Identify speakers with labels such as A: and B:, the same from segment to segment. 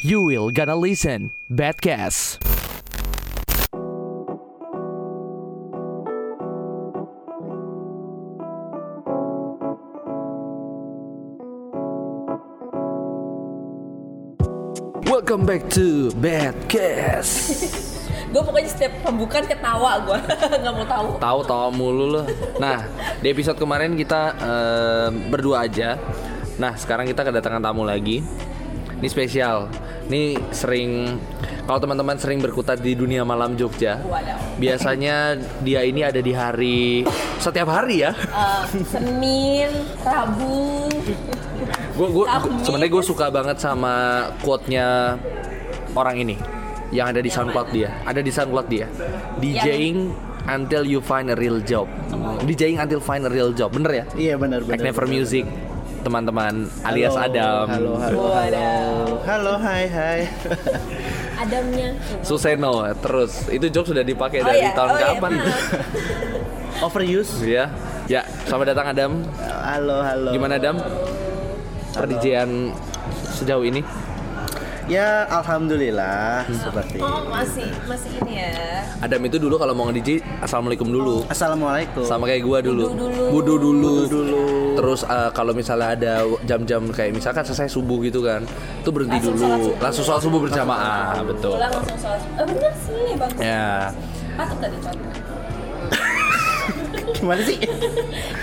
A: You will gonna listen Badcast. Welcome back to Badcast.
B: Gue pokoknya setiap pembukaan ketawa gue nggak mau tahu.
C: Tahu tahu mulu loh. Nah, di episode kemarin kita eh, berdua aja. Nah, sekarang kita kedatangan tamu lagi. Ini spesial. Ini sering kalau teman-teman sering berkutat di dunia malam Jogja,
B: Waduh.
C: biasanya dia ini ada di hari setiap hari ya.
B: Eh, Senin, Rabu,
C: Gue gue
B: Kamis.
C: sebenarnya gue suka banget sama quote-nya orang ini yang ada di SoundCloud dia. Ada di SoundCloud dia. DJing until you find a real job. DJing until find a real job. Bener ya?
D: Iya benar benar.
C: Back Never Music teman-teman alias
D: Halo,
C: Adam
D: Halo halo.
B: Waduh.
D: Halo hai hai.
B: Adamnya.
C: Suseno terus itu joke sudah dipakai
B: Oh
C: dari
B: iya,
C: tahun
B: oh iya,
C: kapan
D: Overuse.
C: ya ya selamat datang Adam
D: Halo halo.
C: gimana Adam perdijian sejauh ini
D: Ya alhamdulillah seperti.
B: Oh masih masih ini ya.
C: Adam itu dulu kalau mau nge-DJ assalamualaikum dulu
D: Assalamualaikum.
C: sama kayak gua dulu
B: Budu dulu.
C: budu dulu, terus eh, kalau misalnya ada jam-jam kayak misalkan selesai subuh gitu kan itu berhenti
B: Langsung
C: dulu
B: sholat subuh.
C: langsung sholat subuh berjamaah betul
B: Pulang langsung sholat. Eh, bener sih ini bagus.
C: ya
B: Patut tadi contoh.
D: Gimana sih?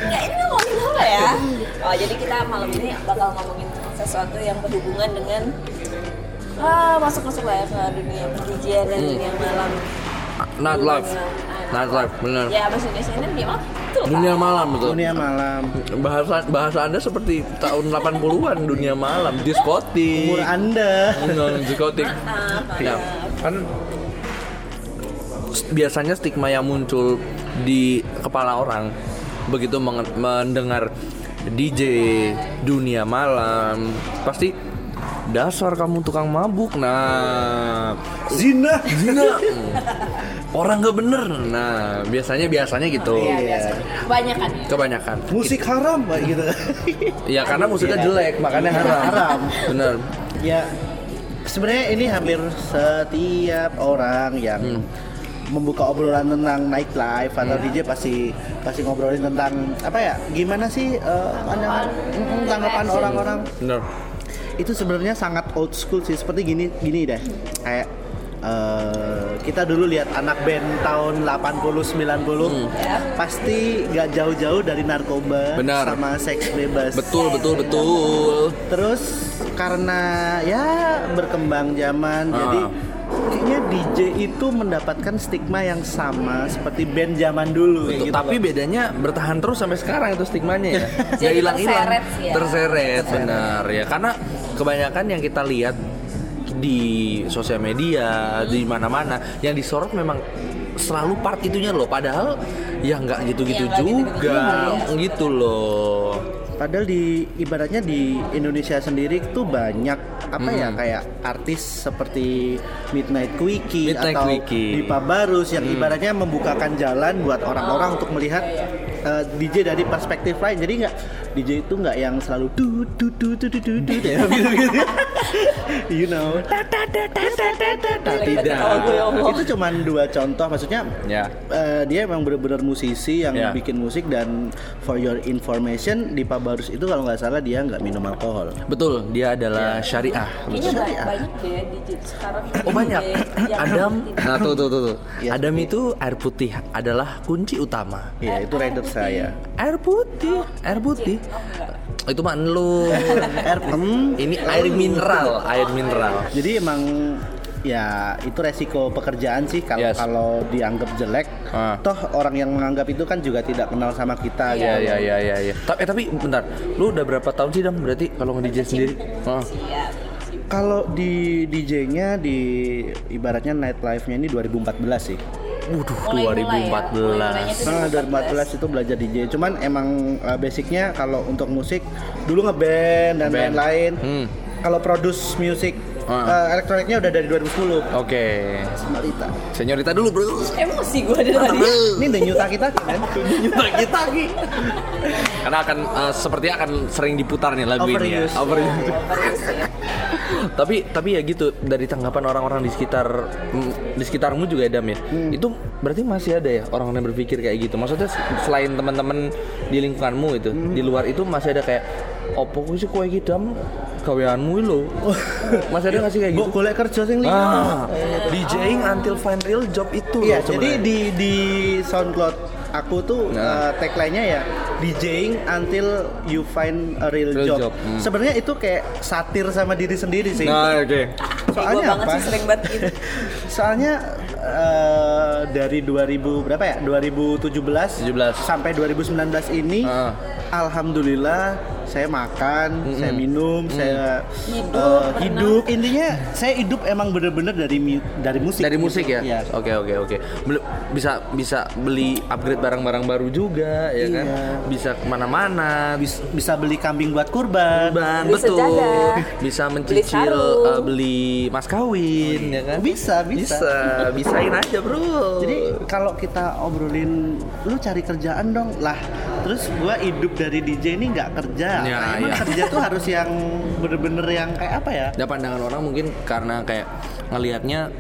B: Enggak, ini ngomongin apa ya? Oh, jadi kita malam ini bakal ngomongin sesuatu yang berhubungan dengan ah, masuk-masuk lah ya ke dunia perjujian dan dunia malam.
C: Not life.
B: Dunia-
C: Not life, bener.
B: Ya, bahasa Indonesia ini dunia malam. Betul, Pak.
C: Dunia malam betul.
D: Dunia malam.
C: Bahasa bahasa Anda seperti tahun 80-an dunia malam, diskotik.
D: Umur Anda.
C: Enggak, diskotik.
B: Maaf, maaf.
C: Nah, kan s- biasanya stigma yang muncul di kepala orang begitu menge- mendengar DJ dunia malam pasti dasar kamu tukang mabuk nah
D: Zina.
C: zina orang nggak bener nah biasanya biasanya gitu
B: Ya, biasa. Kebanyakan ya.
C: kebanyakan
D: Musik haram Pak, gitu.
C: Ya karena Iya. musiknya jelek, makanya haram.
D: Haram.
C: Bener.
D: ya sebenarnya ini hampir setiap orang yang
C: Hmm.
D: membuka obrolan tentang nightlife atau DJ pasti pasti ngobrolin tentang apa ya gimana sih eh, pandangan mm, tanggapan
C: Iya
B: reaction.
D: orang-orang
C: Bener.
D: itu sebenarnya sangat old school sih seperti gini gini deh kayak eh, kita dulu lihat anak band tahun 80
C: Hmm.
D: 90 pasti nggak jauh-jauh dari narkoba
C: Benar.
D: sama seks bebas
C: Betul, betul, betul.
D: terus karena ya berkembang zaman
C: Ah.
D: jadi kayaknya DJ itu mendapatkan stigma yang sama seperti band zaman dulu kayak gitu
C: Tapi
D: loh.
C: bedanya bertahan terus sampai sekarang itu stigmanya ya.
B: Jadi
C: Nggak hilang-hilang.
B: terseret ya.
C: Terseret, benar ya. Karena kebanyakan yang kita lihat di sosial media, di mana-mana yang disorot memang selalu part itunya loh padahal ya nggak gitu-gitu
B: Iya, nggak
C: juga
B: gitu-gitu juga, ya.
C: gitu loh
D: padahal di ibaratnya di Indonesia sendiri itu banyak apa ya kayak artis seperti Midnight Quickie
C: Midnight
D: atau
C: Quickie. Mm.
D: Dipa Barus yang ibaratnya membukakan jalan buat orang-orang untuk melihat eh, DJ dari perspektif lain jadi nggak DJ itu nggak yang selalu du du du du du du du gitu gitu you know
C: tidak
B: Kalau gue ngomong.
D: itu cuman dua contoh maksudnya
C: gitu. Ya.
D: eh, dia emang bener-bener musisi yang
C: Ya.
D: bikin musik dan for your information di Pabarus itu kalau nggak salah dia nggak minum alkohol
C: betul dia adalah syariah
B: Kayaknya ba- banyak deh di sekarang.
C: Iya. Oh banyak.
B: Yang-
C: Adam. Nah tuh tuh tuh. tuh.
D: Iya.
C: Adam itu air putih adalah kunci utama.
D: Iya itu rider saya
C: Air putih, air putih.
B: oh,
C: Oh, Itu mah lu.
D: air em,
C: Ini air mineral, air mineral.
D: jadi emang ya itu resiko pekerjaan sih kalau
C: Yes.
D: kalau dianggap jelek
C: Ah.
D: toh orang yang menganggap itu kan juga tidak kenal sama kita
C: Ya
D: gitu.
C: ya ya ya ya. Tapi eh, tapi bentar, lu udah berapa tahun sih Dam berarti kalau nge-DJ sendiri? Oh. Ah. Heeh.
B: Iya.
D: kalau di DJ-nya di ibaratnya nightlife-nya ini 2014 sih
C: Waduh,
B: Mulai-mulai ya, mulai-mulainya
C: 2014.
B: tuh
D: Nah, 2014 itu belajar DJ. Cuman emang uh, basicnya kalau untuk musik dulu ngeband dan
C: Band.
D: lain-lain.
C: Hmm. Ah.
D: Kalau produce music eh, elektroniknya udah dari 2010.
C: Oke.
D: Semarita.
C: Senyorita dulu, Bro.
B: Emosi gue
C: Oh,
B: dari tadi.
D: Ini udah nyuta kita kan?
C: Kita kita Karena akan eh, sepertinya akan sering diputar nih lagu ini. ya.
D: Overuse.
C: Overuse.
B: Bagus ya.
C: tapi tapi ya gitu dari tanggapan orang-orang di sekitar mm, di sekitarmu juga Adam ya
D: Hmm.
C: itu berarti masih ada ya orang yang berpikir kayak gitu maksudnya se- selain teman-teman di lingkunganmu itu
D: Hmm.
C: di luar itu masih ada kayak opo kuwi sih kue hitam gaweanmu lo masih ada nggak sih kayak
D: Bu
C: gitu
D: golek kerja sing liyane.
C: ah DJing until find real job itu
D: Iya,
C: loh
D: jadi
C: sebenarnya.
D: di di SoundCloud aku tuh
C: Nah.
D: eh, tagline-nya ya DJing until you find a real,
C: Real
D: job.
C: job, hmm.
D: Sebenarnya itu kayak satir sama diri sendiri sih.
C: nah oke
B: Ego
D: Soalnya
B: banget
D: apa?
B: sih sering banget gitu.
D: Soalnya eh, dari 2000 berapa ya? 2017
C: 17.
D: sampai 2019 ini
C: Ah.
D: alhamdulillah saya makan, saya minum, saya
B: Hidup,
D: eh,
B: berenang.
D: hidup. Intinya saya hidup emang bener-bener dari mi- dari musik.
C: dari musik ya
D: Iya.
C: oke oke oke Bel- bisa bisa beli upgrade barang-barang baru juga ya kan
D: Iya.
C: bisa kemana-mana bisa
D: Bisa beli kambing buat kurban.
C: Ban,
B: Beli
C: betul.
B: sejadah.
C: Bisa mencicil
B: sarung.
C: eh, beli mas kawin ya kan?
D: Bisa, bisa.
C: Bisa, bisain aja, Bro.
D: Jadi kalau kita obrolin lu cari kerjaan dong lah. Terus gua hidup dari DJ ini nggak kerja.
C: Ya,
D: Nah, emang
C: ya.
D: kerja tuh harus yang bener-bener yang kayak apa ya?
C: ada pandangan orang mungkin karena kayak ngelihatnya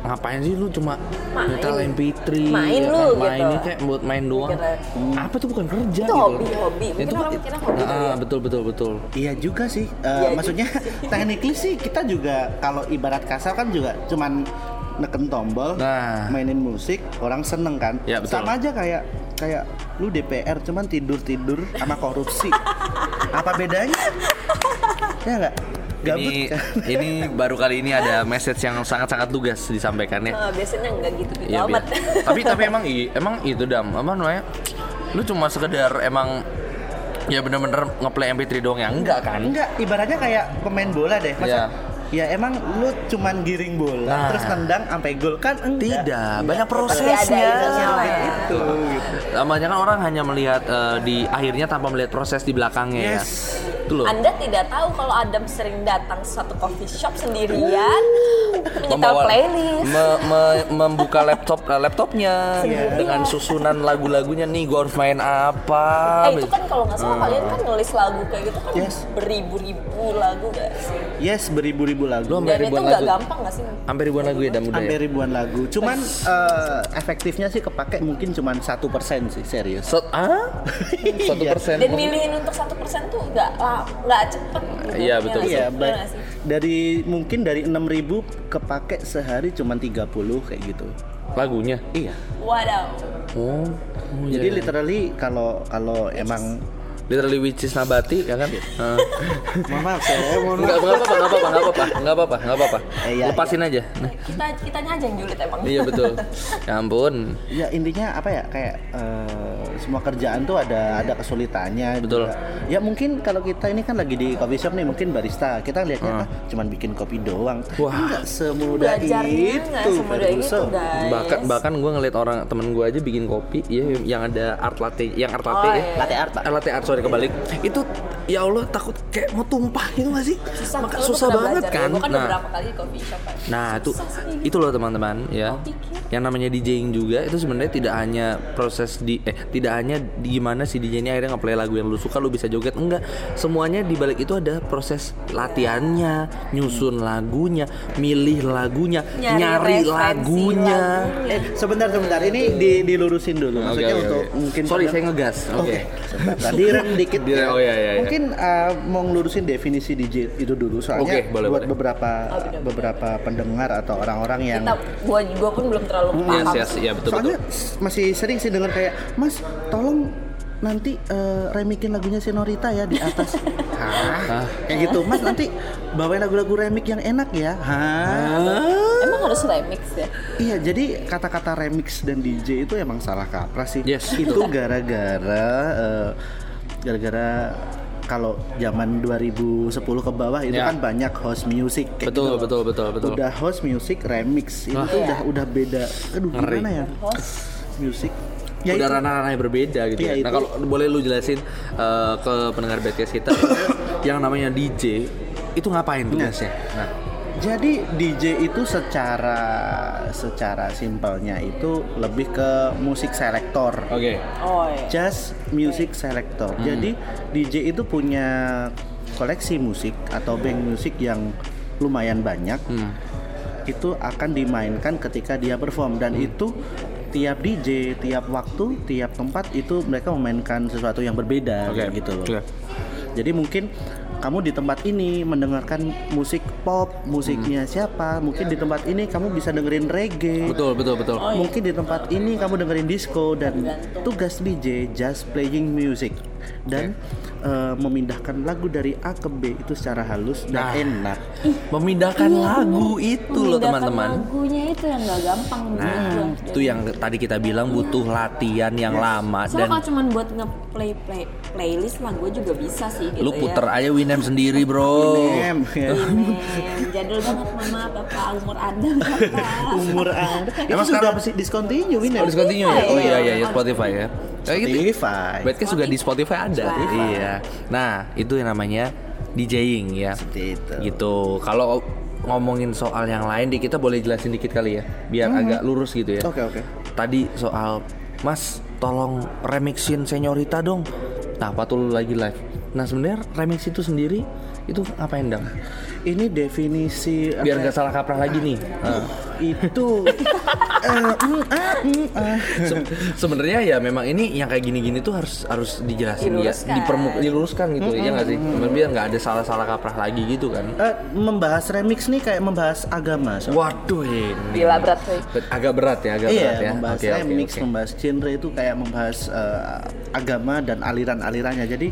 C: ngapain sih lu cuma
B: Main.
C: nyetel MP3 ya
B: Main lu,
C: kan? main
B: gitu.
C: ini kayak buat main doang
B: Pikiran.
C: apa tuh bukan kerja
B: Itu
C: gitu
B: hobi, hobi. Mungkin
C: itu
B: orang mikirnya hobi kali
C: ah,
B: ya.
C: betul betul betul
D: Iya juga sih. Eh,
B: Iya
D: maksudnya technically sih kita juga kalau ibarat kasar kan juga cuman neken tombol,
C: Nah.
D: mainin musik, orang seneng kan.
C: Ya, betul.
D: Sama aja kayak kayak lu DPR cuman tidur-tidur sama korupsi. apa bedanya? ya enggak? Gabut
C: ini
D: kan?
C: ini baru kali ini ada message yang sangat sangat lugas disampaikan ya
B: Eh, biasanya nggak gitu gitu
C: Iya,
B: amat.
C: Bi. tapi tapi emang i- emang itu dam apa namanya lu cuma sekedar emang ya bener-bener ngeplay MP3 doang ya enggak kan Iya.
D: Enggak, ibaratnya kayak pemain bola deh. Masa, Ya emang lu cuman giring bola
C: Nah.
D: terus nendang sampai gol kan enggak.
C: tidak banyak
B: Pasti ada
C: prosesnya
B: itunya lah ya.
D: Gitu, gitu.
C: Namanya kan orang hanya melihat eh, di akhirnya tanpa melihat proses di belakangnya
D: Yes.
C: ya itu loh
B: Anda tidak tahu kalau Adam sering datang ke satu coffee shop sendirian, menyetel
C: Membawa-
B: playlist.
C: me- me- membuka laptop eh, laptopnya
B: Iya.
C: dengan susunan lagu-lagunya nih gua harus main apa Ah.
B: Eh itu kan kalau nggak salah kalian kan nulis lagu kayak gitu kan
D: Yes.
B: beribu-ribu lagu gak sih?
D: Yes, beribu-ribu lagu.
C: Lu
B: Dan
C: hampir
B: itu
C: ribuan
B: nggak
C: lagu
B: gampang nggak sih?
C: hampir ribuan lagu ya dam udah
D: sampai
C: ya?
D: ribuan lagu. Cuman eh, efektifnya sih kepake mungkin cuman satu persen sih serius.
C: Set- ah? satu
D: Iya.
C: persen
B: Dan milihin untuk satu persen tuh nggak la- nggak cepet. gitu.
C: Iya, betul.
B: nggak sih?
D: Iya,
B: Bener
D: ba-
B: nggak sih?
D: dari mungkin dari 6000 kepake sehari cuman 30 kayak gitu.
C: lagunya
D: Iya.
B: Wadaw.
C: Oh, oh,
D: Jadi
C: iya.
D: literally kalau kalau emang
C: literally which is nabati ya kan? Heeh.
D: Mohon maaf saya mohon
C: Enggak enggak apa-apa, enggak apa-apa, enggak apa-apa, enggak apa-apa, enggak apa-apa.
D: Eh, iya,
C: Lepasin aja. Nah,
B: Kita kitanya aja yang julid emang.
C: iya betul. Ya ampun.
D: ya intinya apa ya kayak eh, semua kerjaan tuh ada ada kesulitannya
C: Betul.
D: juga. ya mungkin kalau kita ini kan lagi di coffee shop nih mungkin barista kita lihatnya ah, cuman bikin kopi doang
C: Wah.
D: enggak semudah
B: Belajarnya
C: gitu,
D: itu
B: nggak semudah itu
D: Ferguson.
B: guys.
C: Bahkan bahkan gue ngeliat orang temen gue aja bikin kopi ya yang ada art latte, yang art latte ya.
B: Oh, iya.
D: latte art Pak.
C: Ah, Latte art sorry kebalik. Itu ya Allah takut kayak mau tumpah itu nggak sih?
B: susah,
C: Maka
B: Lu
C: susah
B: pernah
C: banget
B: belajar,
C: kan.
B: Gue kan
C: Nah,
B: beberapa kali di coffee shop kan.
C: Nah itu
B: Susah sih kayak gitu.
C: itu loh teman-teman ya.
B: pikir.
C: Yang namanya DJing juga itu sebenarnya tidak hanya proses di eh tidak hanya di gimana si DJ ini akhirnya ngeplay lagu yang lu suka lu bisa joget enggak. Semuanya di balik itu ada proses latihannya, nyusun lagunya, milih lagunya,
B: Nyari
C: nyari,
B: referensi
C: lagunya.
B: lagunya.
D: eh sebentar sebentar ini di, dilurusin dulu
C: Oke,
D: maksudnya
C: oke,
D: untuk
C: oke.
D: mungkin
C: sorry
D: pada-
C: saya ngegas. Oke.
D: Oke, sebentar. Tadi rem dikit. ya.
C: Direm, oh iya, iya, iya.
D: Mungkin eh, mau ngelurusin definisi DJ itu dulu soalnya
C: Oke, boleh,
D: buat
C: boleh.
D: beberapa beberapa pendengar atau orang-orang yang
B: Kita, gua, gua pun belum terlalu paham.
C: Yes, yes, iya betul
D: Soalnya
C: betul.
D: s- masih sering sih dengar kayak Mas tolong nanti eh, remikin lagunya Senorita ya di atas Hah? kayak gitu Mas nanti bawain lagu-lagu remix yang enak ya
C: Ah.
D: Hah?
B: Emang harus remix ya?
D: Iya jadi kata-kata remix dan DJ itu emang salah kaprah sih
C: Yes.
D: itu gara-gara eh, gara-gara kalau zaman 2010 ke bawah itu
C: Ya.
D: kan banyak house music kayak
C: Betul,
D: gitu.
C: betul, betul, betul.
D: udah house music remix itu tuh udah udah beda aduh
C: Ngeri.
D: gimana ya
B: Host.
D: music Ya
C: Udah
D: itu.
C: ranah-ranah yang berbeda gitu ya. Nah
D: Iya, itu.
C: kalau boleh lu jelasin eh,
D: Iya.
C: ke pendengar podcast kita yang namanya DJ itu ngapain tugasnya? Nah,
D: Jadi DJ itu secara secara simpelnya itu lebih ke musik selektor.
C: Oke.
B: Oh iya.
D: Jazz Music Selector.
C: Hmm.
D: Jadi DJ itu punya koleksi musik atau bank musik yang lumayan banyak.
C: Hmm.
D: Itu akan dimainkan ketika dia perform dan
C: Hmm.
D: itu tiap DJ, tiap waktu, tiap tempat itu mereka memainkan sesuatu yang berbeda
C: Oke.
D: gitu loh.
C: Oke.
D: Jadi mungkin kamu di tempat ini mendengarkan musik pop, musiknya siapa? Mungkin di tempat ini kamu bisa dengerin reggae.
C: Hmm. Betul, betul, betul.
D: Mungkin di tempat ini kamu dengerin disco dan tugas DJ just playing music dan eh, memindahkan lagu dari A ke B itu secara halus dan
C: Nah.
D: enak.
C: Memindahkan
D: Iya.
C: lagu itu loh
B: Membedakan
C: teman-teman.
B: Iya. Lagunya itu yang nggak gampang gitu.
C: Nah, itu yang tadi kita bilang butuh latihan yang lama
B: So
C: dan
B: kalau cuman buat nge-play play, playlist mah gue juga bisa sih gitu
C: lu puter aja
B: ya.
C: Winem sendiri, Bro.
D: Em, ya.
B: Ini, Iya, jadul banget mama bapak umur anda berapa?
D: Umur Anda itu
C: Emang
D: sudah
C: sekarang-
D: mesti discontinue ini.
C: Oh, discontinue ya? Oh iya iya, ya,
B: Iya.
C: Spotify ya. Kayak gitu.
D: Spotify.
C: Badcast juga di Spotify ada.
B: Spotify.
C: Iya. Nah, itu yang namanya DJing ya.
D: Seperti itu.
C: Gitu. Kalau ngomongin soal yang lain di kita boleh jelasin dikit kali ya, biar agak lurus gitu ya.
D: Oke, oke.
C: Tadi soal Mas, tolong remixin Senyorita dong. Nah, apa tuh lu lagi live? Nah, sebenarnya remix itu sendiri itu ngapain dong?
D: Ini definisi
C: Biar
D: apa ya,
C: nggak salah kaprah lagi nih. Nah.
D: itu Eh, mm, ah, mm, ah.
C: Se- sebenarnya ya memang ini yang kayak gini-gini tuh harus harus dijelasin ya
B: Diluruskan.
C: dipermu- diluruskan gitu ya nggak sih biar nggak ada salah-salah kaprah lagi gitu kan
D: Eh, membahas remix nih kayak membahas agama. so.
C: waduh ini
B: Gila berat cuy.
C: Bet- agak berat ya agak
D: Iya,
C: berat ya
D: membahas
C: Oke, oke,
D: remix,
C: oke.
D: membahas genre itu kayak membahas eh, agama dan aliran-alirannya. Jadi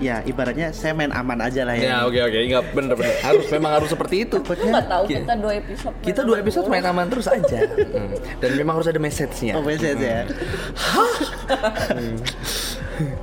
D: ya ibaratnya saya main aman aja lah ya.
C: ya oke oke nggak bener-bener harus memang harus seperti itu
D: Takutnya
B: Nggak tahu
C: Ki-
B: kita dua episode.
C: kita dua episode main aman terus aja Hmm. dan memang harus ada message-nya
D: Oh, wait, wait, ya.
C: Hmm.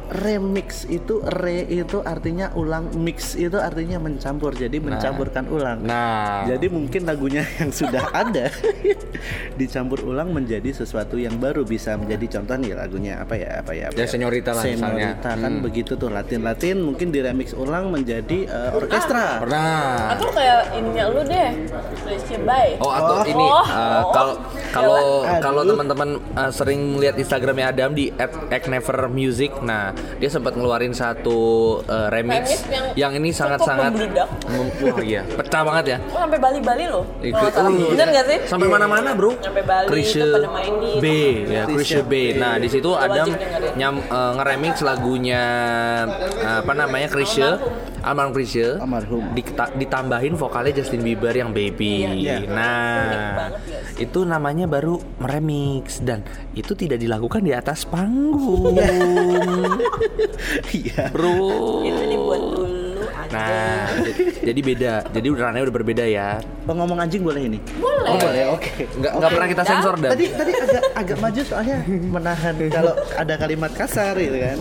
D: Remix itu re itu artinya ulang, mix itu artinya mencampur. Jadi mencampurkan ulang.
C: nah
D: Jadi mungkin lagunya yang sudah ada dicampur ulang menjadi sesuatu yang baru bisa menjadi contoh nih lagunya apa ya apa ya apa
C: Ya, Señorita lah
D: Señorita
C: misalnya. Hmm.
D: kan begitu tuh Latin Latin mungkin di remix ulang menjadi eh,
C: Ah.
D: orkestra.
C: pernah
B: Atau kayak ininya lu deh, ya, Leslie Bay.
C: Oh atau
D: Oh.
C: ini
B: Oh.
C: uh, kalau kalau
D: Jalan.
C: kalau
D: Aduh.
C: teman-teman uh, sering lihat Instagramnya Adam di @acnevermusic. Nah dia sempat ngeluarin satu uh, remix,
B: Remix yang
C: yang, ini
B: cukup
C: sangat-sangat
B: membludak.
C: mem- wah iya pecah banget ya.
B: Oh, sampai Bali-Bali loh.
C: Ikut-
B: Kalau nggak salah.
C: Oh,
B: Bener nggak sih? Iya.
C: Sampai mana-mana bro.
B: Sampai Bali,
C: Krisye
B: itu pada main di-
C: B, ya Krisye B. Nah di situ
B: Wajib
C: Adam
B: dengerin.
C: nyam uh, ngeremix lagunya uh, apa namanya Krisye. Almarhum Krisye
D: Almarhum.
C: diketa- ditambahin vokalnya Justin Bieber yang baby.
D: Iya.
C: Nah,
B: iya.
C: itu namanya baru meremix dan itu tidak dilakukan di atas panggung,
D: Iya.
C: bro.
B: Itu dibuat dulu aja.
C: Nah, j- jadi beda. Jadi udaranya udah berbeda ya.
D: Oh, ngomong anjing boleh ini?
B: Boleh.
D: Oh, boleh, oke.
C: Nggak
D: Oke.
C: nggak pernah kita sensor
B: Nah,
C: dan.
D: Tadi tadi agak agak maju soalnya menahan kalau ada kalimat kasar gitu kan.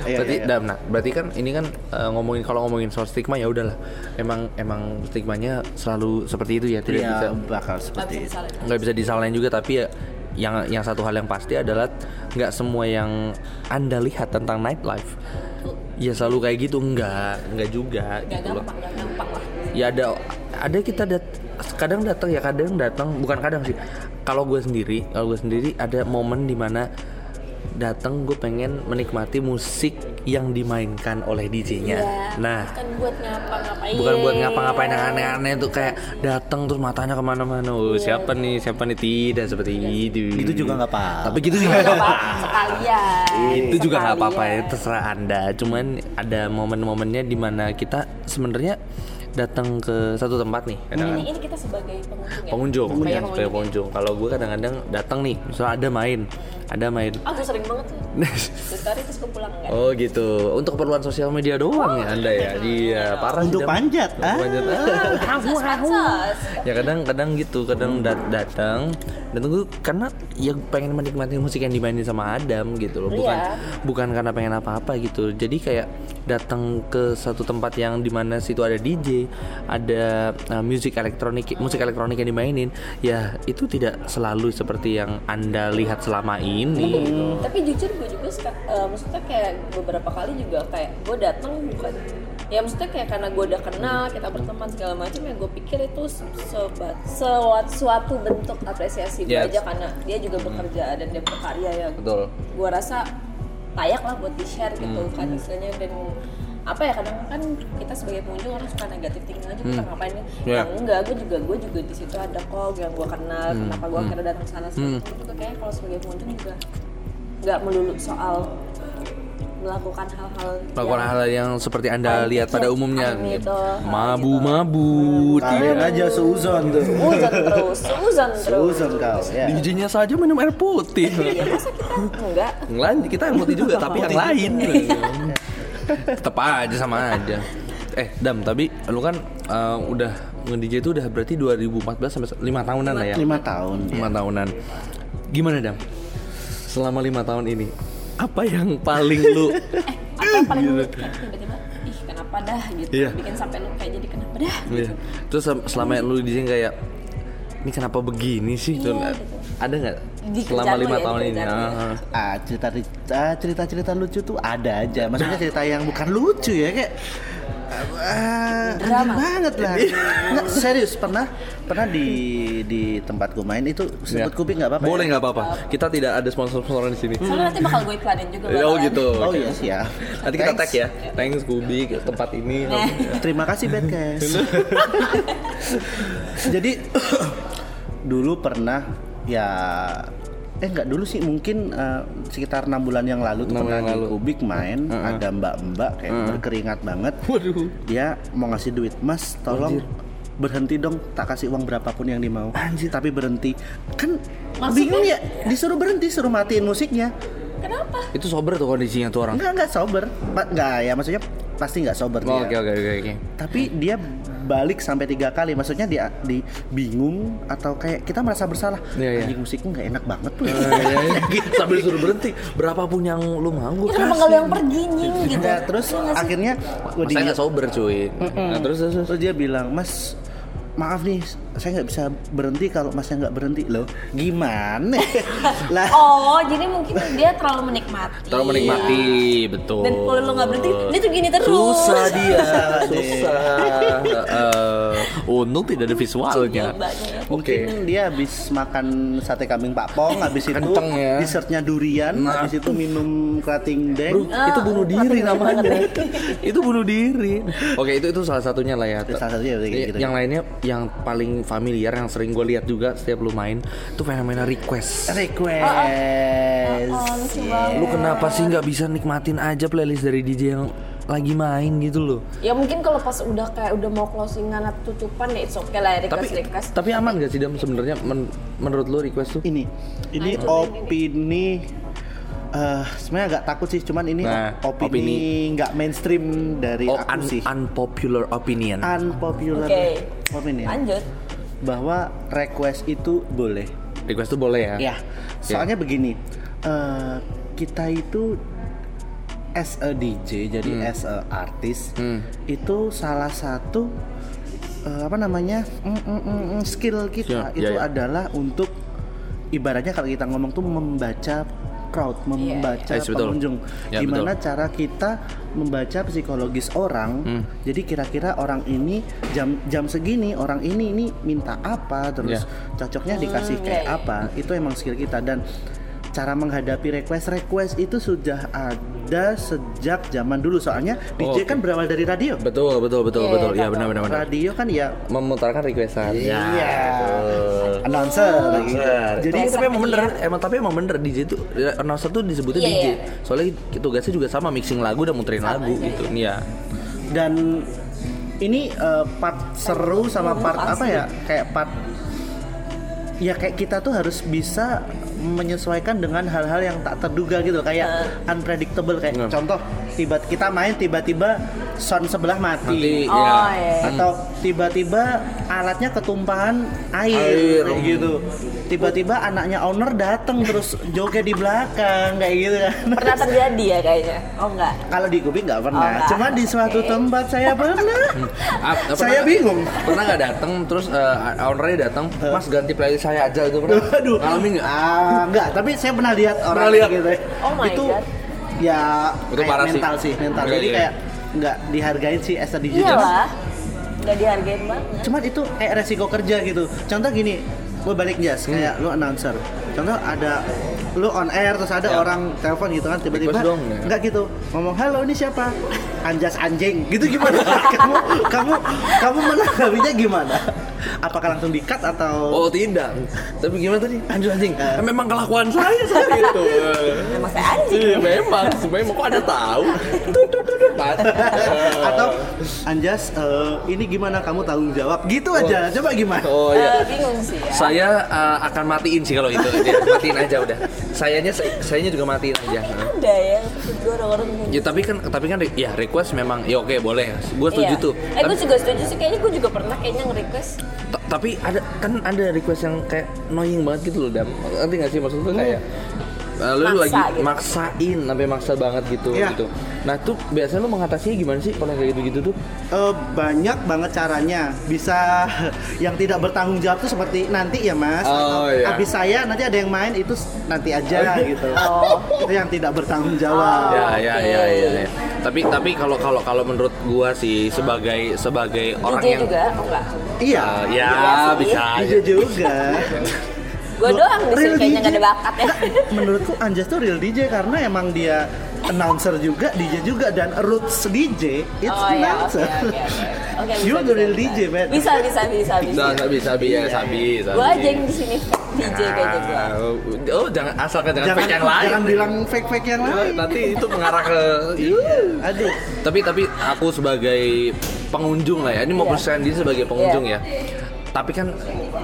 D: Iya,
C: berarti
D: iya, iya.
C: Dam, nah, berarti kan ini kan eh, ngomongin kalau ngomongin soal stigma ya udahlah. Emang emang stigmanya selalu seperti itu ya, tidak
D: Iya,
C: bisa
D: bakal
C: iya.
B: Nggak bisa
D: seperti itu.
B: disalahin.
C: nggak bisa disalahin juga tapi ya yang yang satu hal yang pasti adalah nggak semua yang anda lihat tentang nightlife ya selalu kayak gitu nggak nggak juga
B: Nggak
C: gitu loh
B: gampang, nggak gampang lah.
C: ya ada ada kita dat- kadang datang ya kadang datang bukan kadang sih kalau gue sendiri kalau gue sendiri ada momen dimana datang gue pengen menikmati musik yang dimainkan oleh DJ-nya nah
B: Bukan Kan buat ngapa-ngapain.
C: bukan buat ngapa-ngapain yang aneh-aneh tuh kayak datang terus matanya kemana-mana oh, siapa nih siapa nih tidak seperti itu
D: Gitu juga nggak apa-apa.
C: tapi gitu juga Iya nggak apa-apa
B: Sekalian.
C: itu juga nggak apa-apa ya
B: Sekalian.
C: terserah anda cuman ada momen-momennya dimana kita sebenarnya datang ke satu tempat nih
B: Ini,
C: kadang-kadang.
B: ini kita sebagai pengunjung ya?
C: pengunjung
B: Sebagai
C: ya sebagai pengunjung kalau gue kadang-kadang datang nih misalnya ada main ada main
B: Ah, gue sering banget tuh. Gue story terus gue pulang kan.
C: Oh gitu, untuk keperluan sosial media doang ya anda ya, iya parah sih,
D: Untuk
C: Dam.
D: panjat,
C: Untuk
D: ah.
C: panjat, ah.
B: Pansos, pansos.
C: ya kadang-kadang gitu
D: Hmm.
C: kadang dat- datang datang gue karena ya pengen menikmati musik yang dimainin sama Adam gitu loh bukan
B: Iya.
C: bukan karena pengen apa-apa gitu jadi kayak datang ke satu tempat yang dimana situ ada DJ ada uh, musik elektronik musik elektronik yang dimainin ya itu tidak selalu seperti yang anda lihat selama ini ini gitu.
B: tapi jujur gue juga suka eh, maksudnya kayak beberapa kali juga kayak gue datang bukan ya maksudnya kayak karena gue udah kenal kita berteman segala macam ya gue pikir itu se- sebat sewat- suatu bentuk apresiasi gue
C: Yes.
B: aja karena dia juga bekerja dan dia berkarya ya
C: Betul.
B: gue rasa layak lah buat di share gitu kan istilahnya dan apa ya kadang kan kita sebagai pengunjung orang suka negatif thinking aja kita ngapain nih
C: Iya.
B: Yang enggak gue juga gue juga di situ ada kok yang gue kenal kenapa gue akhirnya datang ke sana hmm. itu juga kayaknya kalau sebagai pengunjung juga nggak melulu soal melakukan hal-hal Ya.
C: Melakukan hal yang seperti anda
B: Aneh,
C: lihat pada
B: iya,
C: umumnya
B: aneh
C: gitu.
B: itu, hal
C: Mabu-mabu.
D: Kalian aja seuzon tuh.
B: Suzon terus Suzon terus
D: Seuzon kau. Ya.
C: Dijinya saja minum air putih.
B: ya masa kita enggak
C: Lain kita yang putih juga tapi yang lain. Tetap aja sama aja. Eh, Dam, tapi lu kan eh, udah nge-DJ itu udah berarti 2014 sampai 5 tahunan lah ya.
D: Lima tahun.
C: lima tahunan gimana dam selama lima tahun ini apa yang paling lu
B: eh apa yang paling lu- tiba-tiba ih kenapa dah gitu
C: Iya.
B: bikin sampai lu kayak jadi kenapa dah
C: Iya. terus sam- selama lu di sini kayak ini kenapa begini sih Tuh,
B: Iya, gitu.
C: ada nggak
B: Di
C: selama
B: kerjaan lu
C: lima
B: ya, di
C: tahun ini
B: kerjaan lu ya.
C: Ah, ah.
D: Ah, cerita cerita cerita lucu tuh ada aja. Maksudnya cerita yang bukan lucu ya kayak ah, anjing
B: Drama.
D: banget lah. Nggak, serius pernah pernah di di tempat gue main itu sebut kuping nggak apa-apa.
C: Iya. boleh
D: ya?
C: nggak apa-apa kita tidak ada sponsor sponsoran di sini
B: soalnya nanti bakal gue iklanin juga kan.
C: oh
B: bakalan.
C: gitu
D: Oh
C: Oke.
D: iya siap.
C: nanti kita
D: Thanks.
C: tag ya thanks Eh. Kubi ke tempat ini
B: Nah.
D: Terima kasih Bad Guys. Jadi dulu pernah ya eh nggak dulu sih mungkin eh, sekitar enam bulan yang lalu tuh
C: Enam
D: pernah
C: bulan
D: di
C: lalu.
D: Kubik main ada mbak-mbak kayak berkeringat banget.
C: waduh
D: Dia mau ngasih duit, Mas tolong berhenti dong tak kasih uang berapapun yang dimau tapi berhenti kan bingung ya disuruh berhenti suruh matiin musiknya
B: kenapa
C: itu sober tuh kondisinya tuh orang
D: nggak nggak sober Pa- nggak ya maksudnya pasti nggak sober ya. dia
C: Oh, oke oke oke oke
D: tapi dia balik sampai tiga kali maksudnya dia di bingung atau kayak kita merasa bersalah
C: Iya, Eh. iya.
D: anjing musiknya nggak enak banget tuh
C: sambil suruh berhenti berapapun yang lu mau
B: Ya,
C: gue
B: kenapa nggak lu yang pergi nying gitu
D: Nah, terus
B: Iya nggak sih?
D: akhirnya gua
C: saya
D: di-
C: nggak sober cuy nah, terus terus terus.
D: terus dia bilang mas maaf nih saya nggak bisa berhenti kalau masnya nggak berhenti loh gimana lah
B: oh jadi mungkin dia terlalu menikmati Iya.
C: terlalu menikmati betul
B: dan kalau lu nggak berhenti dia tuh gini terus
C: susah dia susah Eh, untung tidak ada visualnya
B: Mbaknya.
C: oke
D: Mungkin dia habis makan sate kambing Pak Pong, habis itu
C: Kenceng ya.
D: dessertnya durian,
C: Nah.
D: habis itu minum kerating deng.
C: Bro, itu bunuh diri namanya. itu bunuh diri. Oke, itu itu salah satunya lah ya.
D: Itu salah satunya, kayak
C: Iya,
D: gitu.
C: Yang lainnya yang paling familiar yang sering gue lihat juga setiap lu main itu fenomena request.
D: Request.
B: Oh, lucu
D: Yeah.
B: banget.
C: Lu kenapa sih nggak bisa nikmatin aja playlist dari DJ yang lagi main gitu loh?
B: ya mungkin kalau pas udah kayak udah mau closingan atau tutupan ya it's okay lah ya
C: tapi
B: request request
C: tapi aman gak sih Dam sebenarnya men- menurut lu request tuh
D: ini ini
B: Nah,
D: opini eh sebenarnya agak takut sih cuman ini
C: Nah, opini.
D: opini nggak mainstream dari
C: oh,
D: aku
C: un-
D: sih Ah.
C: unpopular opinion
D: unpopular
B: Oke.
C: Iya.
D: opinion
B: lanjut
D: bahwa request itu boleh
C: request tuh boleh ya
D: ya soalnya begini eh kita itu as a DJ jadi
C: Hmm.
D: as a artist itu salah satu eh, apa namanya mm, mm, mm, mm, skill kita
C: Siap,
D: itu
C: iya, iya.
D: adalah untuk ibaratnya kalau kita ngomong tuh membaca crowd membaca
C: Yes, betul.
D: pengunjung
C: Ya,
D: gimana cara kita membaca psikologis orang
C: Hmm.
D: jadi kira-kira orang ini jam jam segini orang ini ini minta apa terus
C: Ya.
D: cocoknya dikasih
B: Hmm,
D: kayak
B: iya, iya.
D: apa itu emang skill kita dan cara menghadapi request request itu sudah ada sejak zaman dulu soalnya
C: Oh, oke.
D: DJ kan berawal dari radio
C: betul betul betul
B: Iya,
C: betul
B: iya,
C: ya benar benar benar
D: radio kan ya
C: memutarkan requestan
D: Iya. announcer lagi.
C: Jadi
D: jadi
B: Iya.
C: tapi emang bener, emang tapi emang bener DJ tuh ya, announcer tuh disebutnya
B: Iya,
C: DJ.
B: iya.
C: Soalnya tugasnya juga sama mixing lagu dan muterin lagu
B: iya,
C: gitu. Iya.
D: dan ini eh, part seru sama part apa ya kayak part ya kayak kita tuh harus bisa menyesuaikan dengan hal-hal yang tak terduga gitu kayak unpredictable kayak
C: Hmm.
D: contoh tiba kita main tiba-tiba sound sebelah mati,
C: Nanti
B: Oh,
C: ya.
B: iya.
D: atau tiba-tiba alatnya ketumpahan
C: Air. oh
D: air, kayak gitu tiba-tiba anaknya owner datang terus joget di belakang kayak gitu kan
B: pernah terjadi ya kayaknya oh enggak
D: kalau di kuping nggak pernah,
B: Oh, nggak.
D: cuma di suatu
B: Oke. Hmm.
D: tempat saya pernah.
C: Ah, pernah
D: Saya
C: nggak-
D: bingung.
C: Pernah nggak datang terus eh, ownernya datang, Mas ganti playlist saya aja itu pernah.
D: Aduh,
C: Ngalamin nggak?
D: Ah, Eh, enggak, tapi saya pernah lihat orang
C: Pernah lihat?
D: gitu ya.
B: Oh my
D: itu
B: God.
D: ya
C: Itu
D: kayak
C: parah sih.
D: mental sih, mental.
C: Iya,
D: Jadi
C: iya.
D: kayak nggak dihargain sih as a DJ.
B: Iyalah, Iya nggak dihargain
C: Iya,
B: banget.
D: Cuman itu kayak resiko kerja gitu. Contoh gini, gue balik jas
C: Hmm.
D: kayak lu announcer. Contoh ada lu on air terus ada
C: Ya.
D: orang telepon gitu kan tiba-tiba
C: Request dong, ya.
D: nggak gitu ngomong halo ini siapa anjas anjing gitu gimana kamu kamu kamu menanggapinya gimana apakah langsung di cut atau
C: Oh tidak. Tapi gimana tadi?
D: anjing anjing
C: Ah, Memang kelakuan saya saat itu.
B: Emang saya anjing.
C: Iya, memang, memang kok ada tahu. Tut, tut, tut, tut.
D: atau anjas eh, ini gimana kamu tanggung jawab gitu aja coba gimana
C: Oh
B: Eh,
C: iya.
B: bingung sih ya.
C: Saya eh, akan matiin sih kalau itu. Ya, matiin aja udah. Sayanya sayanya juga matiin aja.
B: Ada ya, kedua orang-orang bingung.
C: Ya tapi kan tapi kan re- ya request memang ya oke boleh. Gue setuju
B: Iya.
C: tuh.
B: Eh, gue
C: Tapi,
B: juga setuju sih. Kayaknya gue juga pernah kayaknya nge-request.
C: ta- tapi ada kan ada request yang kayak annoying banget gitu loh dam. Nanti nggak sih maksud lu kayak eh, lu
B: Maksa
C: lagi
B: gitu.
C: maksain sampai maksa banget gitu
D: Iya.
C: gitu. Nah, tuh biasanya lu mengatasinya gimana sih kalau kayak gitu-gitu tuh?
D: Eh, banyak banget caranya bisa yang tidak bertanggung jawab tuh seperti nanti ya mas
C: Oh, iya.
D: Atau,
C: Oh.
D: habis saya nanti ada yang main itu s- nanti aja gitu itu yang tidak bertanggung jawab
C: ya,
B: Oh,
C: ya,
B: oke.
C: ya, ya, ya. Tapi tapi kalau kalau kalau menurut gua sih sebagai sebagai orang
B: DJ
C: yang
B: juga, oh enggak.
D: iya
C: Ah, ya,
B: Iya sih.
C: bisa aja.
D: DJ juga
B: Gue doang di sini
D: Real Nah,
B: kayaknya nggak ada
D: DJ.
B: bakat ya.
D: Nggak, menurutku Anjas tuh real DJ karena emang dia announcer juga DJ juga dan roots DJ
B: oh
D: it's
B: ya, oke
D: announcer
B: oke oke. Oke,
D: You
B: bisa,
D: the
B: bisa,
D: real DJ, man.
B: Bisa bisa bisa bisa.
C: Bisa, sabi, sabi, ya, sabi, sabi.
B: Gue aja yang di sini fake DJ kayaknya gue.
C: Ah, Oh, jangan asalkan jangan,
D: jangan
C: fake yang lain. Iya,
D: jangan bilang fake fake yang lain
C: Nanti itu mengarah ke iya.
D: aduh
C: tapi tapi aku sebagai pengunjung lah ya ini mau
B: Iya.
C: persen diri sebagai pengunjung ya tapi kan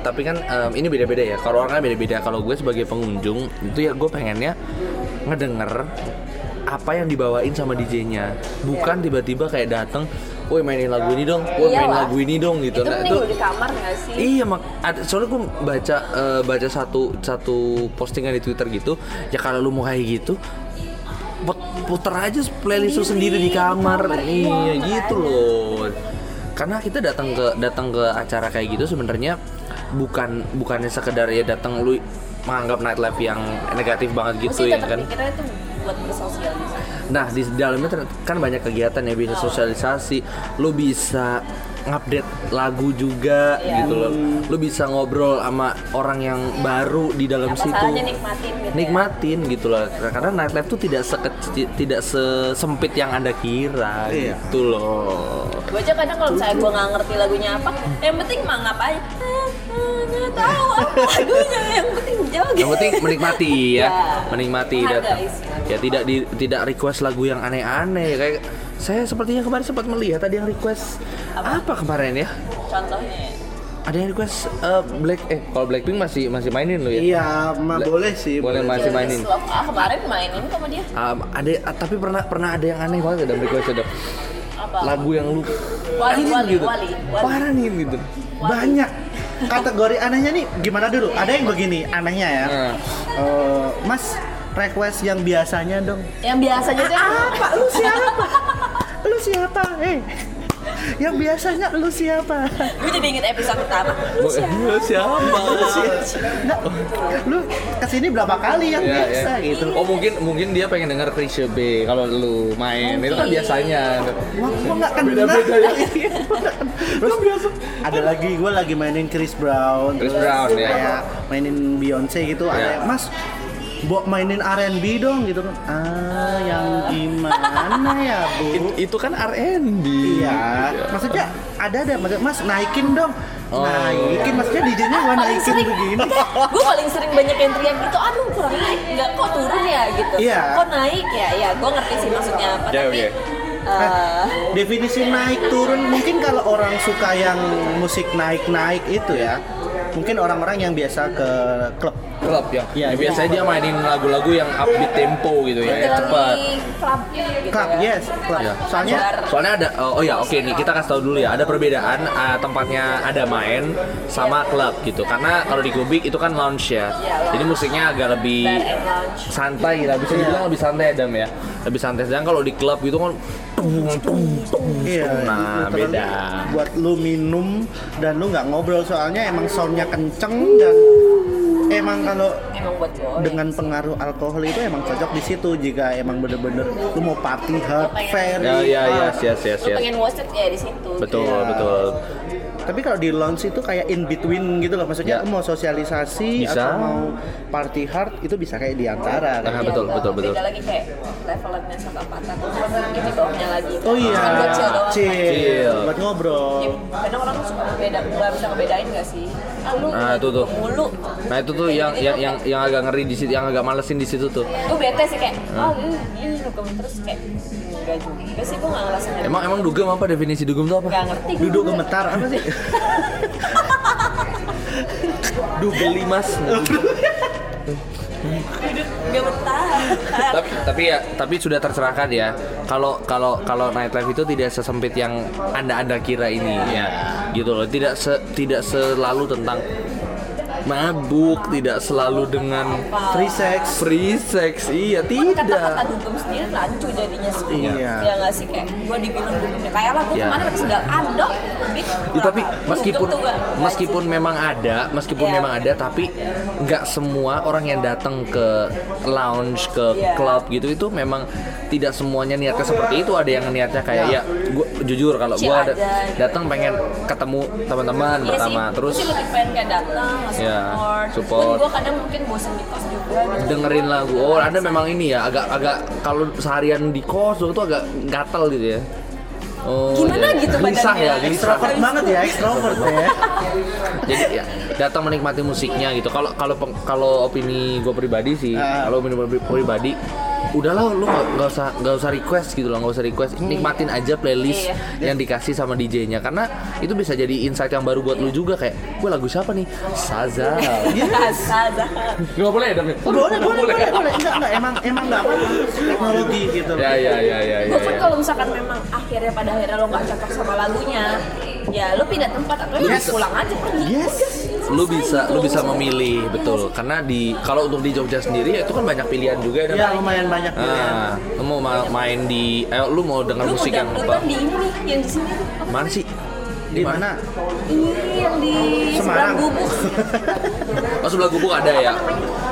C: tapi kan em, ini beda-beda ya kalau orang kan beda-beda kalau gue sebagai pengunjung itu ya gue pengennya ngedenger apa yang dibawain sama DJ-nya
B: Iya.
C: bukan tiba-tiba kayak dateng woi mainin lagu ini dong woi mainin
B: Iyalah.
C: lagu ini dong gitu
B: Iya, Itu
C: Nah,
B: mending
C: itu-
B: lu di kamar nggak sih?
C: Iya mak, ada, soalnya gue baca eh, baca satu satu postingan di Twitter gitu, ya kalau lu mau kayak gitu, put- puter aja playlist lu
B: Iya
C: sendiri di kamar, iya gitu
B: kan.
C: loh. Karena kita datang ke datang ke acara kayak gitu sebenarnya bukan bukannya sekedar ya datang lu menganggap nightlife yang negatif banget
B: Mesti
C: gitu ya
B: tetap
C: kan.
B: mikirnya itu buat bersosialisasi.
C: Nah di dalamnya ter- kan banyak kegiatan ya bisa sosialisasi, lu bisa ngupdate lagu juga
B: Iya.
C: gitu loh. Lu bisa ngobrol sama orang yang baru di dalam
B: Apa
C: situ.
B: salahnya nikmatin gitu ya?
C: Nikmatin gitu loh. Karena nightlife tuh tidak sekecil, tidak sesempit yang Anda kira
D: Iya.
C: gitu loh.
B: Gue aja kadang kalau misalnya gue nggak ngerti lagunya apa, yang penting mah ngapain? Eh, eh, nggak tahu apa lagunya, yang penting jauh gitu.
C: Yang penting menikmati ya,
B: Ya.
C: menikmati
B: Menghargai
C: datang.
B: sih.
C: Ya tidak di- tidak request lagu yang aneh-aneh kayak saya sepertinya kemarin sempat melihat ada yang request apa kemarin ya?
B: Contohnya ya.
C: ada yang request eh, black eh kalau blackpink masih masih mainin lo ya
D: iya mah boleh sih
C: Boleh, Mas. Masih mainin.
B: Slow. Ah, kemarin mainin sama dia.
C: Um, ada ah, tapi pernah pernah ada yang aneh banget dalam request ada
B: Apa?
C: lagu yang lu
B: Wali,
C: parangin
B: wali,
C: gitu
B: wali, wali.
C: parangin gitu
D: banyak kategori anehnya nih gimana dulu ada yang begini anehnya ya
C: Nah,
D: Eh, mas request yang biasanya dong
B: Yang biasanya tuh yang-
D: apa lu siapa lu siapa eh yang biasanya lu siapa
B: Gue jadi inget episode pertama. Lu
C: gua-
B: siapa?
C: lu siapa
D: Nggak, Nah, lu kesini berapa kali yang
C: Ya,
D: biasa
C: ya.
D: gitu
C: oh mungkin mungkin dia pengen denger Chrisye B kalau lu main itu kan
B: Mungkin.
C: biasanya
D: Wah, gua nggak Iya, kenal.
C: ya.
D: Terus ada lagi gue lagi mainin Chris Brown.
C: Chris
D: terus
C: Brown, ya.
D: Kayak mainin Beyonce gitu. Ada
C: Ya.
D: yang, Mas, buat mainin R&B dong gitu kan. Ah, yang gimana ya bu?
C: It- itu kan R&B
D: Iya, maksudnya ada ada maksudnya Mas naikin dong.
C: Oh.
D: Naikin maksudnya DJ-nya gua
B: Paling
D: naikin
B: sering
D: begini.
B: Gue paling sering banyak yang teriak gitu, aduh kurang naik, nggak kok turun ya gitu.
D: Iya.
B: Kok naik ya? Ya, gue ngerti sih maksudnya apa.
C: Ya,
B: tapi
C: oke.
B: eh,
D: Definisi naik turun mungkin kalau orang suka yang musik naik-naik itu ya. Mungkin orang-orang yang biasa ke klub
C: klub ya,
D: Iya,
C: Ya, biasanya dia mainin lagu-lagu yang upbeat tempo gitu ya, ya
B: literally
C: cepat
B: club gitu
D: Club,
B: ya.
D: yes, club.
B: Tempat
D: Soalnya-
B: bar.
C: Soalnya ada oh, oh ya oke nih kita kasih tahu dulu ya ada perbedaan eh, tempatnya ada main sama klub gitu karena kalau di Gubik itu kan lounge ya
B: Iya,
C: jadi musiknya agak lebih
B: Bar and lounge.
C: santai lah bisa dibilang lebih santai Adam ya lebih santai sedangkan kalau di klub gitu kan tung, tung, tung,
D: Iya,
C: tung. nah
D: literally
C: beda
D: Buat lu minum dan lu nggak ngobrol soalnya emang soundnya kenceng dan emang kalau
B: emang buat cowok ya?
D: dengan pengaruh alkohol itu emang cocok di situ jika emang bener-bener lu mau party hard
B: pengen-
D: fair
C: Ya ya ya yes yes
B: lu
C: yes.
B: pengen watch it ya di situ
C: Betul
D: Iya.
C: betul.
D: tapi kalau di lounge itu kayak in between gitu loh
C: Ya.
D: maksudnya lu mau
C: Bisa.
D: sosialisasi atau mau party hard itu bisa kayak di antara
C: Nah,
D: kan?
B: Iya,
C: betul,
B: Bang.
C: betul, betul.
B: beda lagi kayak levelnya sama empatan ini bawahnya lagi
D: oh iya
B: Kan buat chill doang, kan?
D: chill
C: Chill.
D: buat ngobrol
B: Ya, karena orang tuh suka beda nggak bisa ngebedain nggak sih ah, lu
C: Nah, itu tuh.
B: mulu
C: Nah itu tuh yang yang yang, yang agak ngeri di situ, yang agak malesin di situ tuh.
B: gue bete sih kayak
C: Ah.
B: oh lu dia dugem terus kayak enggak juga sih gue nggak ngerasa
C: Emang emang dugem apa definisi dugem tuh
B: nggak
C: apa?
B: ngerti gua
D: duduk
B: juga.
D: gemetar apa sih
C: Dugeli mas.
B: duduk gemetar
C: tapi tapi ya tapi sudah tercerahkan ya kalau kalau kalau nightlife itu tidak sesempit yang anda anda kira ini
D: Iya.
C: ya gitu loh tidak se- tidak selalu tentang mabuk tidak selalu dengan
D: free sex
C: free sex iya
B: kata-kata
C: tidak
B: dugem sendiri rancu jadinya sih
D: Iya.
B: ya nggak sih kayak gue dibilang dugemnya kayak lah gue
C: Iya.
B: kemana "Ah, pakai sendal andok
C: Ya, tapi meskipun meskipun
B: memang
C: memang ada meskipun
B: Iya.
C: memang ada tapi nggak semua orang yang datang ke lounge ke
B: Iya.
C: club gitu itu memang tidak semuanya niatnya seperti itu ada yang niatnya kayak
B: Iya.
C: ya gua jujur kalau
B: Chill
C: gua ada,
B: aja, gitu.
C: datang pengen ketemu teman-teman
B: Iya
C: pertama
B: sih,
C: terus
B: gue sih lebih pengen kayak datang,
C: Iya,
B: support.
C: support.
B: Gue kadang mungkin bosen di kos juga. gitu.
C: dengerin lagu oh anda memang ini ya agak agak kalau seharian di kos itu agak gatel gitu ya oh
B: Gimana
C: iya.
B: gitu
C: gelisah
B: badannya?
C: ya gelisah
D: extrovert banget ya extrovert ya
C: jadi ya, datang menikmati musiknya gitu kalau kalau peng- kalau opini gue pribadi sih
D: Ah.
C: kalau opini gue pribadi udahlah lu nggak nggak usah nggak usah request gitu loh nggak usah request
D: Hmm.
C: nikmatin aja playlist
B: Iya.
C: yang dikasih sama DJ-nya karena itu bisa jadi insight yang baru buat lu juga kayak gue lagu siapa nih Sazal
B: Iya, Biasa dah.
C: nggak boleh dong
D: Iya. Oh, boleh boleh boleh boleh enggak enggak emang emang enggak apa teknologi gitu loh
C: ya ya ya ya ya,
B: Bahkan
C: ya.
B: kalau misalkan memang akhirnya pada akhirnya lo nggak cocok sama lagunya, ya lo pindah tempat atau lo
C: Yes.
B: pulang aja pergi.
D: Yes.
B: Udah,
C: lu
B: selesai
C: bisa lu
B: gitu loh.
C: bisa memilih betul karena di kalau untuk di Jogja sendiri ya itu kan banyak pilihan juga
D: ya
C: dan
D: lumayan banyak pilihan.
C: ah lu mau ma- main di eh lu mau
B: Lu
C: denger
B: mau
C: musik yang
B: dangdutan
C: apa
B: di ini nih, yang di sini tuh. apa?
C: mana sih
D: di mana
B: Ini yang di seberang
D: Semarang.
B: gubuk.
C: Oh sebelah gubuk ada ya.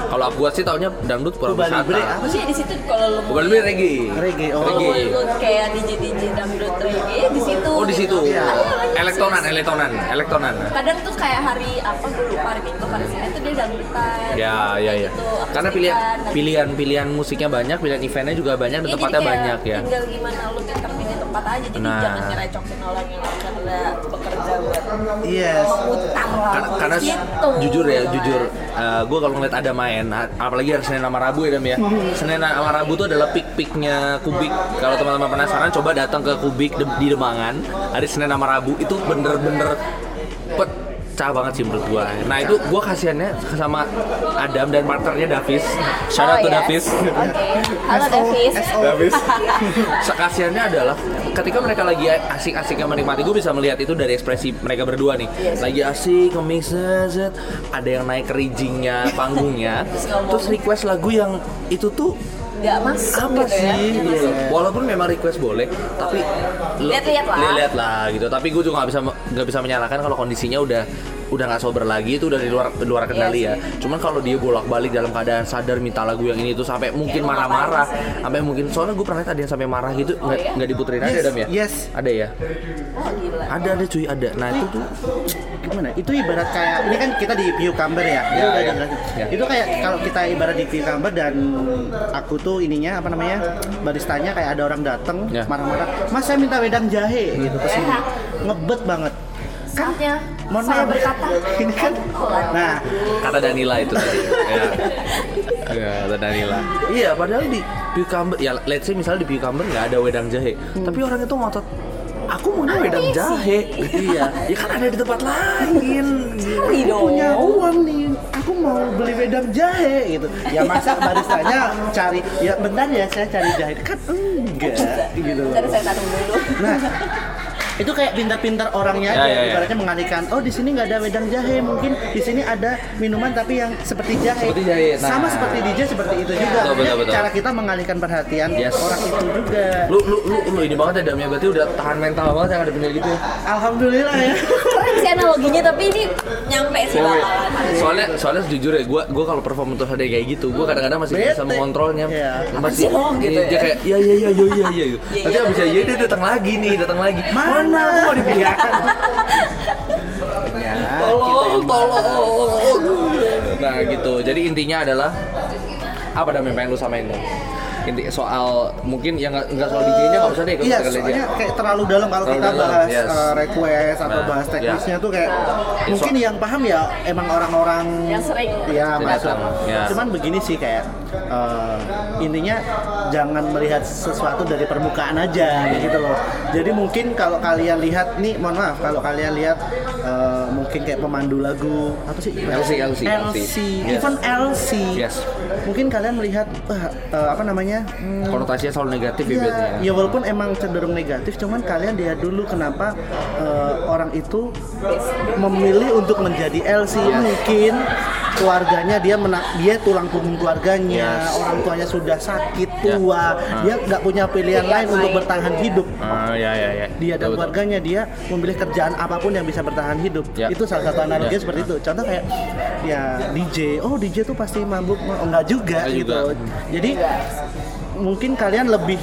C: Kalau aku sih taunya dangdut pura
D: Kubali
C: wisata.
D: Bre apa sih
B: Maksudnya di situ kalau lo
C: Bukan lebih reggae.
D: ah. Reggae, oh.
B: kalau
C: Reggae.
B: lo kayak DJ DJ dangdut reggae di situ.
C: Oh di situ.
B: Iya.
C: Elektronan, elektronan, elektronan.
B: kadang tuh kayak hari apa gue lupa hari minggu hari senin tuh dia dangdutan
C: Ya, ya, ya.
B: Gitu, akustikan,
C: Karena pilihan
B: dan-
C: pilihan pilihan musiknya banyak, pilihan eventnya juga banyak,
B: Iya,
C: dan
B: ya jadi
C: tempatnya
B: kayak
C: banyak ya.
B: tinggal gimana lu kan terpilih tempat aja jadi
C: Nah.
B: jangan ngerecokin orang yang karena bekerja buat
D: Yes.
B: memutar lah
C: Karena, karena s-
B: gitu.
C: jujur ya, jujur, gue kalau ngeliat ada main, ha- apalagi hari Senin sama Rabu ya Dam ya.
B: Mm-hmm.
C: Senin sama Rabu tuh adalah pik-piknya Kubik. Kalau teman-teman penasaran, coba datang ke Kubik de- di Demangan hari Senin sama Rabu itu bener-bener pecah banget sih menurut gue. Nah itu gue kasihannya sama Adam dan partnernya Davis. Shout out
B: Oh,
C: to
B: ya.
C: Davis.
B: Oke. halo
D: SO.
B: Davis
C: Davis. Sekasiannya adalah ketika mereka lagi asik-asiknya menikmati, gue bisa melihat itu dari ekspresi mereka berdua nih. Lagi asik, nge-mix, zet, ada yang naik kerijingnya, panggungnya,
B: ngomong.
C: terus request lagu yang itu tuh
B: nggak masuk
C: apa
B: gitu
C: sih?
B: ya
C: gitu loh. Walaupun memang request boleh, tapi lo-
B: Lihat-lihat lah.
C: lihat-lihat lah gitu. Tapi gue juga nggak bisa nggak bisa menyalahkan kalau kondisinya udah udah nggak sober lagi itu udah di luar di luar kendali
B: Iya
C: ya. Cuman kalau dia bolak-balik dalam keadaan sadar minta lagu yang ini itu sampai mungkin
B: emang
C: marah-marah,
B: apaan Iya, sih?
C: sampai mungkin soalnya gue pernah lihat ada yang sampai marah gitu nggak
B: iya?
C: nggak diputerin ada
D: Yes,
C: Dam ya?
D: yes.
C: Ada ya?
B: oh gila
C: Ada ada cuy ada. Nah itu tuh
D: gimana itu ibarat kayak ini kan kita di Viewcamber ya, Itu
C: Ya,
D: udah
C: ya.
D: dijelasin.
C: Ya.
D: itu kayak kalau kita ibarat di Viewcamber dan aku tuh ininya apa namanya baristanya kayak ada orang dateng
C: Ya.
D: marah-marah mas saya minta wedang jahe gitu kesini
B: Ya.
D: ngebet banget Kan,
C: Kan
B: saatnya
D: mohon
B: saya
D: maaf
B: berkata
D: ini kan nah
C: kata Danila itu tadi. ya. Ya, kata Danila. Iya, padahal di cucumber ya let's say misalnya di cucumber nggak ada wedang jahe,
B: Hmm.
C: tapi orang itu ngotot aku maunya wedang jahe. iya, ya kan ada di tempat lain.
B: Sorry dong
D: punya
C: Oh.
D: uang nih aku mau beli wedang jahe gitu ya masa baristanya cari ya bentar ya saya cari jahe kan enggak gitu loh
B: Ntar saya taruh dulu
D: Nah, itu kayak pintar-pintar orangnya
C: Ya,
D: aja
C: ya, ya.
D: ibaratnya mengalihkan oh di sini nggak ada wedang jahe mungkin di sini ada minuman tapi yang seperti jahe,
C: Seperti jahe, nah. Ya,
D: sama seperti DJ seperti itu juga
C: Betul, betul,
D: Jadi
C: betul.
D: cara kita mengalihkan perhatian
C: Yes.
D: orang itu juga
C: Lu lu lu lu ini banget ya Damnya berarti udah tahan mental banget yang ada bener gitu ya.
D: alhamdulillah ya
B: Keren sih analoginya tapi ini nyampe sih bakalan.
C: Soalnya soalnya jujur ya, gua gua kalau perform untuk HD kayak gitu, gua kadang-kadang masih nggak bisa
D: Bete.
C: mengontrolnya.
D: Iya.
C: Masih
B: Apa sih lo? Gitu
C: dia, dia
B: ya.
C: kayak ya ya ya ya ya ya. gitu.
B: Iya,
C: Nanti
B: iya,
C: abis ya
B: betul,
C: ya
B: iya.
C: dia datang lagi nih, datang lagi.
D: Mana?
C: Aku mau dibiarkan.
D: Ya,
C: Tolong, tolong. Nah gitu. Jadi intinya adalah apa Dam yang pengen lu samain Dam? Inti soal mungkin yang nggak nggak soal DJ-nya nggak usah deh ikut
D: Iya,
C: sekali aja.
D: soalnya kayak terlalu dalam kalau
C: Terlalu
D: kita
C: dalam,
D: bahas
C: yes.
D: uh, request atau
C: Nah,
D: bahas teknisnya tuh kayak
C: Ya,
D: mungkin
C: so-
D: yang paham ya emang orang-orang
B: Iya, Yang sering.
D: ya
C: Yang
D: masuk.
C: datang, ya.
D: Cuman begini sih kayak uh, intinya jangan melihat sesuatu dari permukaan aja gitu loh. Jadi mungkin kalau kalian lihat nih, mohon maaf kalau kalian lihat uh, mungkin kayak pemandu lagu apa sih?
C: LC, LC.
D: LC.
C: Yes.
D: Even LC.
C: Yes.
D: Mungkin kalian melihat wah, uh, apa namanya? hmm,
C: Konotasinya selalu negatif ya biasanya.
D: Iya, ya walaupun emang cenderung negatif, cuman kalian lihat dulu kenapa eh, orang itu memilih untuk menjadi LC
C: Iya.
D: mungkin keluarganya dia mena- dia tulang punggung keluarganya,
C: Yes.
D: orang tuanya sudah sakit
C: Ya.
D: tua, dia nggak punya pilihan
B: Pilihan
D: lain untuk
B: lain.
D: bertahan hidup.
C: Ah ya ya ya.
D: Dia dan
C: Betul, betul.
D: keluarganya dia memilih kerjaan apapun yang bisa bertahan hidup.
C: Ya.
D: Itu salah satu analogi
C: Ya.
D: seperti itu. Contoh kayak ya DJ, oh DJ tuh pasti mabuk, oh, enggak juga
C: Enggak
D: gitu.
C: juga.
D: Jadi mungkin kalian lebih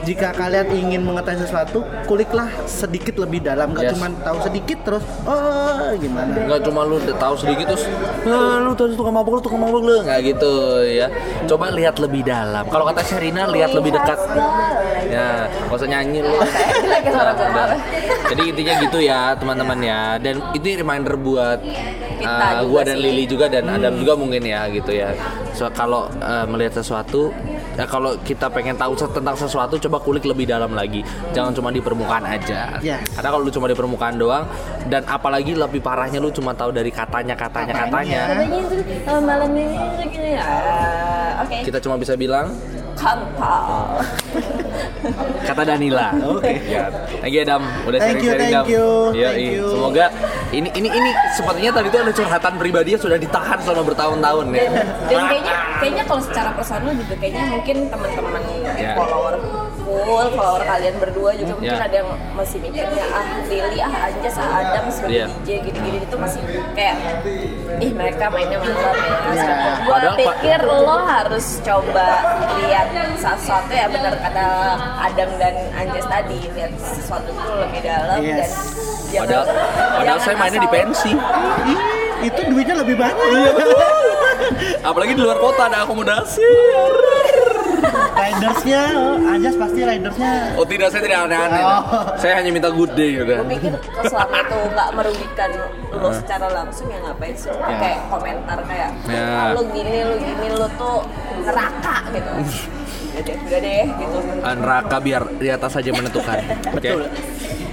D: jika kalian ingin mengetahui sesuatu, kuliklah sedikit lebih dalam,
C: Yes.
D: enggak cuma tahu sedikit terus oh gimana.
C: Nggak cuma lu udah tahu sedikit terus "Ah, lu tadi tukang mabuk lu tukang mabuk lu nggak gitu ya coba lihat lebih dalam kalau kata Sherina lihat
D: Iya,
C: lebih dekat ya nggak usah nyanyi lu
B: Lagi suara gue.
C: Udah. jadi intinya gitu ya teman-teman ya dan itu reminder buat
B: Kita
C: uh,
B: juga
C: gua dan
B: sih. Hmm.
C: Lili juga dan Adam juga mungkin ya gitu ya so kalau uh, melihat sesuatu ya kalau kita pengen tahu se- tentang sesuatu coba kulik lebih dalam lagi jangan cuma di permukaan aja
D: Yes.
C: karena kalau lu cuma di permukaan doang dan apalagi lebih parahnya lu cuma tahu dari katanya katanya katanya
B: Katanya itu eh, malam ini itu gini ya. Oke.
C: kita Ah. cuma bisa bilang
B: Kantal.
C: kata Danila.
D: Oke.
C: Ya. Thank you Adam, udah sharing
D: Thank
C: sharing
D: you,
C: Dam.
D: thank you,
C: Yoi.
D: thank you.
C: Semoga ini ini ini sepertinya tadi itu ada curhatan pribadi yang sudah ditahan selama bertahun-tahun ya.
B: dan, dan kayaknya kayaknya kalau secara personal juga kayaknya mungkin teman-teman
C: Ya.
B: follower full follower kalian berdua juga mungkin
C: Ya.
B: ada yang masih mikirnya ah Lili ah Anjas ah Adam sebagai
C: Iya.
B: DJ gitu-gitu itu masih kayak ih mereka mainnya malam ya
D: Iya.
B: gue
C: Padahal, Pak-
B: pikir lo harus coba lihat sesuatu ya benar kata Adam dan Anjas tadi lihat sesuatu itu lebih dalam dan
D: Yes.
B: jangan-
C: Padahal padahal
B: jangan
C: saya mainnya di
B: asal-
C: pensi.
D: Ih, itu duitnya lebih banyak.
C: Iya, Apalagi di luar kota ada akomodasi.
D: ridersnya, oh, Anjas pasti ridersnya.
C: Oh tidak, saya tidak aneh-aneh.
D: Oh.
C: Saya hanya minta good day udah.
B: gue pikir kalau selama itu nggak merugikan lo secara langsung ya ngapain sih kayak komentar kayak
C: Ya.
B: "Ah, lo gini lo gini lo tuh neraka gitu Udah deh, udah deh gitu
C: Neraka biar di atas saja menentukan. Oke.
D: Betul.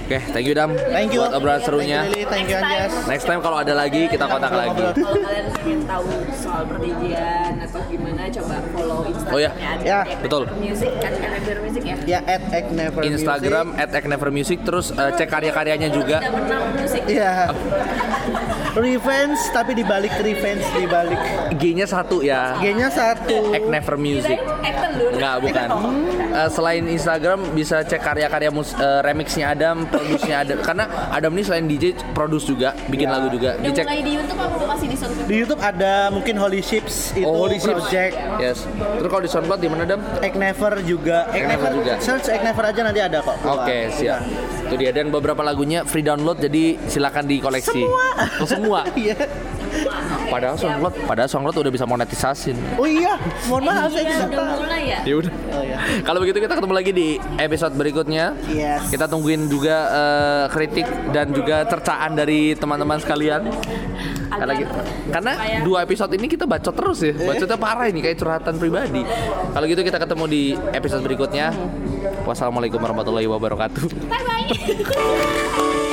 C: Oke, thank you Dam.
D: Thank you.
C: Buat obrolan serunya.
D: Thank you, Lily. Thank you Anjas.
C: Next time kalau ada lagi kita kontak lagi.
B: kalau kalian ingin tahu soal perdijian atau gimana coba follow instagramnya
C: Oh, ya.
B: ada
D: Ya,
B: di
C: betul. Iya
B: music kan kan ada music ya
D: Ya at Egg Never Music.
C: Instagram at @nevermusic terus eh, cek karya-karyanya juga.
B: tidak pernah musik
D: Iya. Revenge tapi dibalik revenge dibalik.
C: G-nya satu ya.
D: G-nya satu.
C: Ek Never Music.
B: Kirain Acton dulu
C: Enggak, Iya. bukan. Eh, selain Instagram bisa cek karya-karya mus- eh, remixnya Adam, produsnya Adam. Karena Adam ini selain DJ produs juga, bikin lagu juga.
B: udah
C: Dicek.
B: mulai di YouTube apa masih di SoundCloud
D: Di YouTube ada mungkin Holy Ships itu
C: Oh, Holy Ships.
D: project.
C: Yes. Terus kalau di SoundCloud di mana, Adam?
D: Egg Never juga. Egg
C: Egg Never
D: Never
C: juga.
D: Search Egg Never aja nanti ada kok. keluar.
C: Oke, siap. Itu dia dan beberapa lagunya free download jadi silakan dikoleksi.
D: Semua.
C: Oh, semua.
D: Iya.
C: Padahal SoundCloud, padahal SoundCloud udah bisa monetisasin.
D: Oh iya, mohon maaf saya
B: Iya,
D: tidak
B: udah
D: tahu.
B: mulai ya
C: Ya udah.
D: Oh iya.
C: Kalau begitu kita ketemu lagi di episode berikutnya.
D: Yes.
C: Kita tungguin juga eh, kritik dan juga cercaan dari teman-teman sekalian. Karena,
B: Agar-
C: kita- karena
B: supaya-
C: dua episode ini kita bacot terus ya. Bacotnya parah ini kayak curhatan pribadi. Kalau gitu kita ketemu di episode berikutnya. Wassalamualaikum warahmatullahi wabarakatuh.
B: bye bye